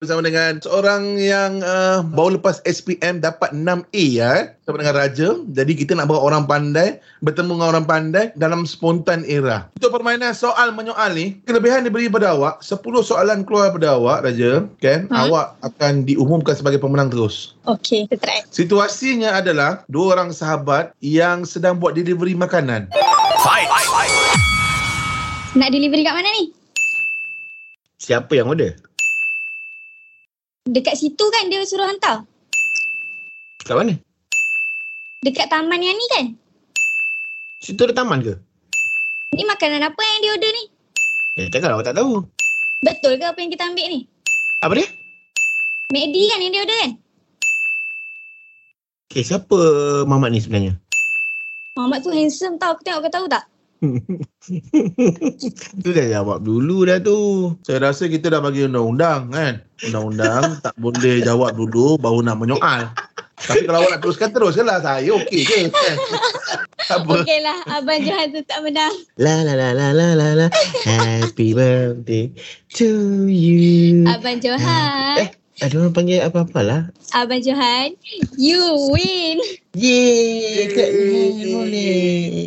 bersama dengan seorang yang uh, baru lepas SPM dapat 6A ya eh? sama dengan Raja jadi kita nak bawa orang pandai bertemu dengan orang pandai dalam spontan era untuk permainan soal menyoal ni kelebihan diberi pada awak 10 soalan keluar pada awak Raja kan Ha? awak akan diumumkan sebagai pemenang terus Okey, kita try. situasinya adalah dua orang sahabat yang sedang buat delivery makanan Nak delivery kat mana ni? Siapa yang order? Dekat situ kan dia suruh hantar. Kat mana? Dekat taman yang ni kan? Situ ada taman ke? Ni makanan apa yang dia order ni? Eh, takkan awak tak tahu. Betul ke apa yang kita ambil ni? Apa dia? McD kan yang dia order kan? Okay, Eh, siapa Mamat ni sebenarnya? Muhammad tu handsome tau. Aku tengok kau tahu tak? tu dah jawab dulu dah tu. saya rasa kita dah bagi undang-undang kan undang-undang tak boleh jawab dulu baru nak menyoal tapi kalau awak nak teruskan teruskan lah saya okey je kan tak apa Okey lah. Abang Johan tu tak menang. La la la la la la la. Happy birthday to you. Abang Johan. Eh. Ada orang panggil lah. apa-apalah. Abang Johan. You win. Yeay, Kak Iman boleh.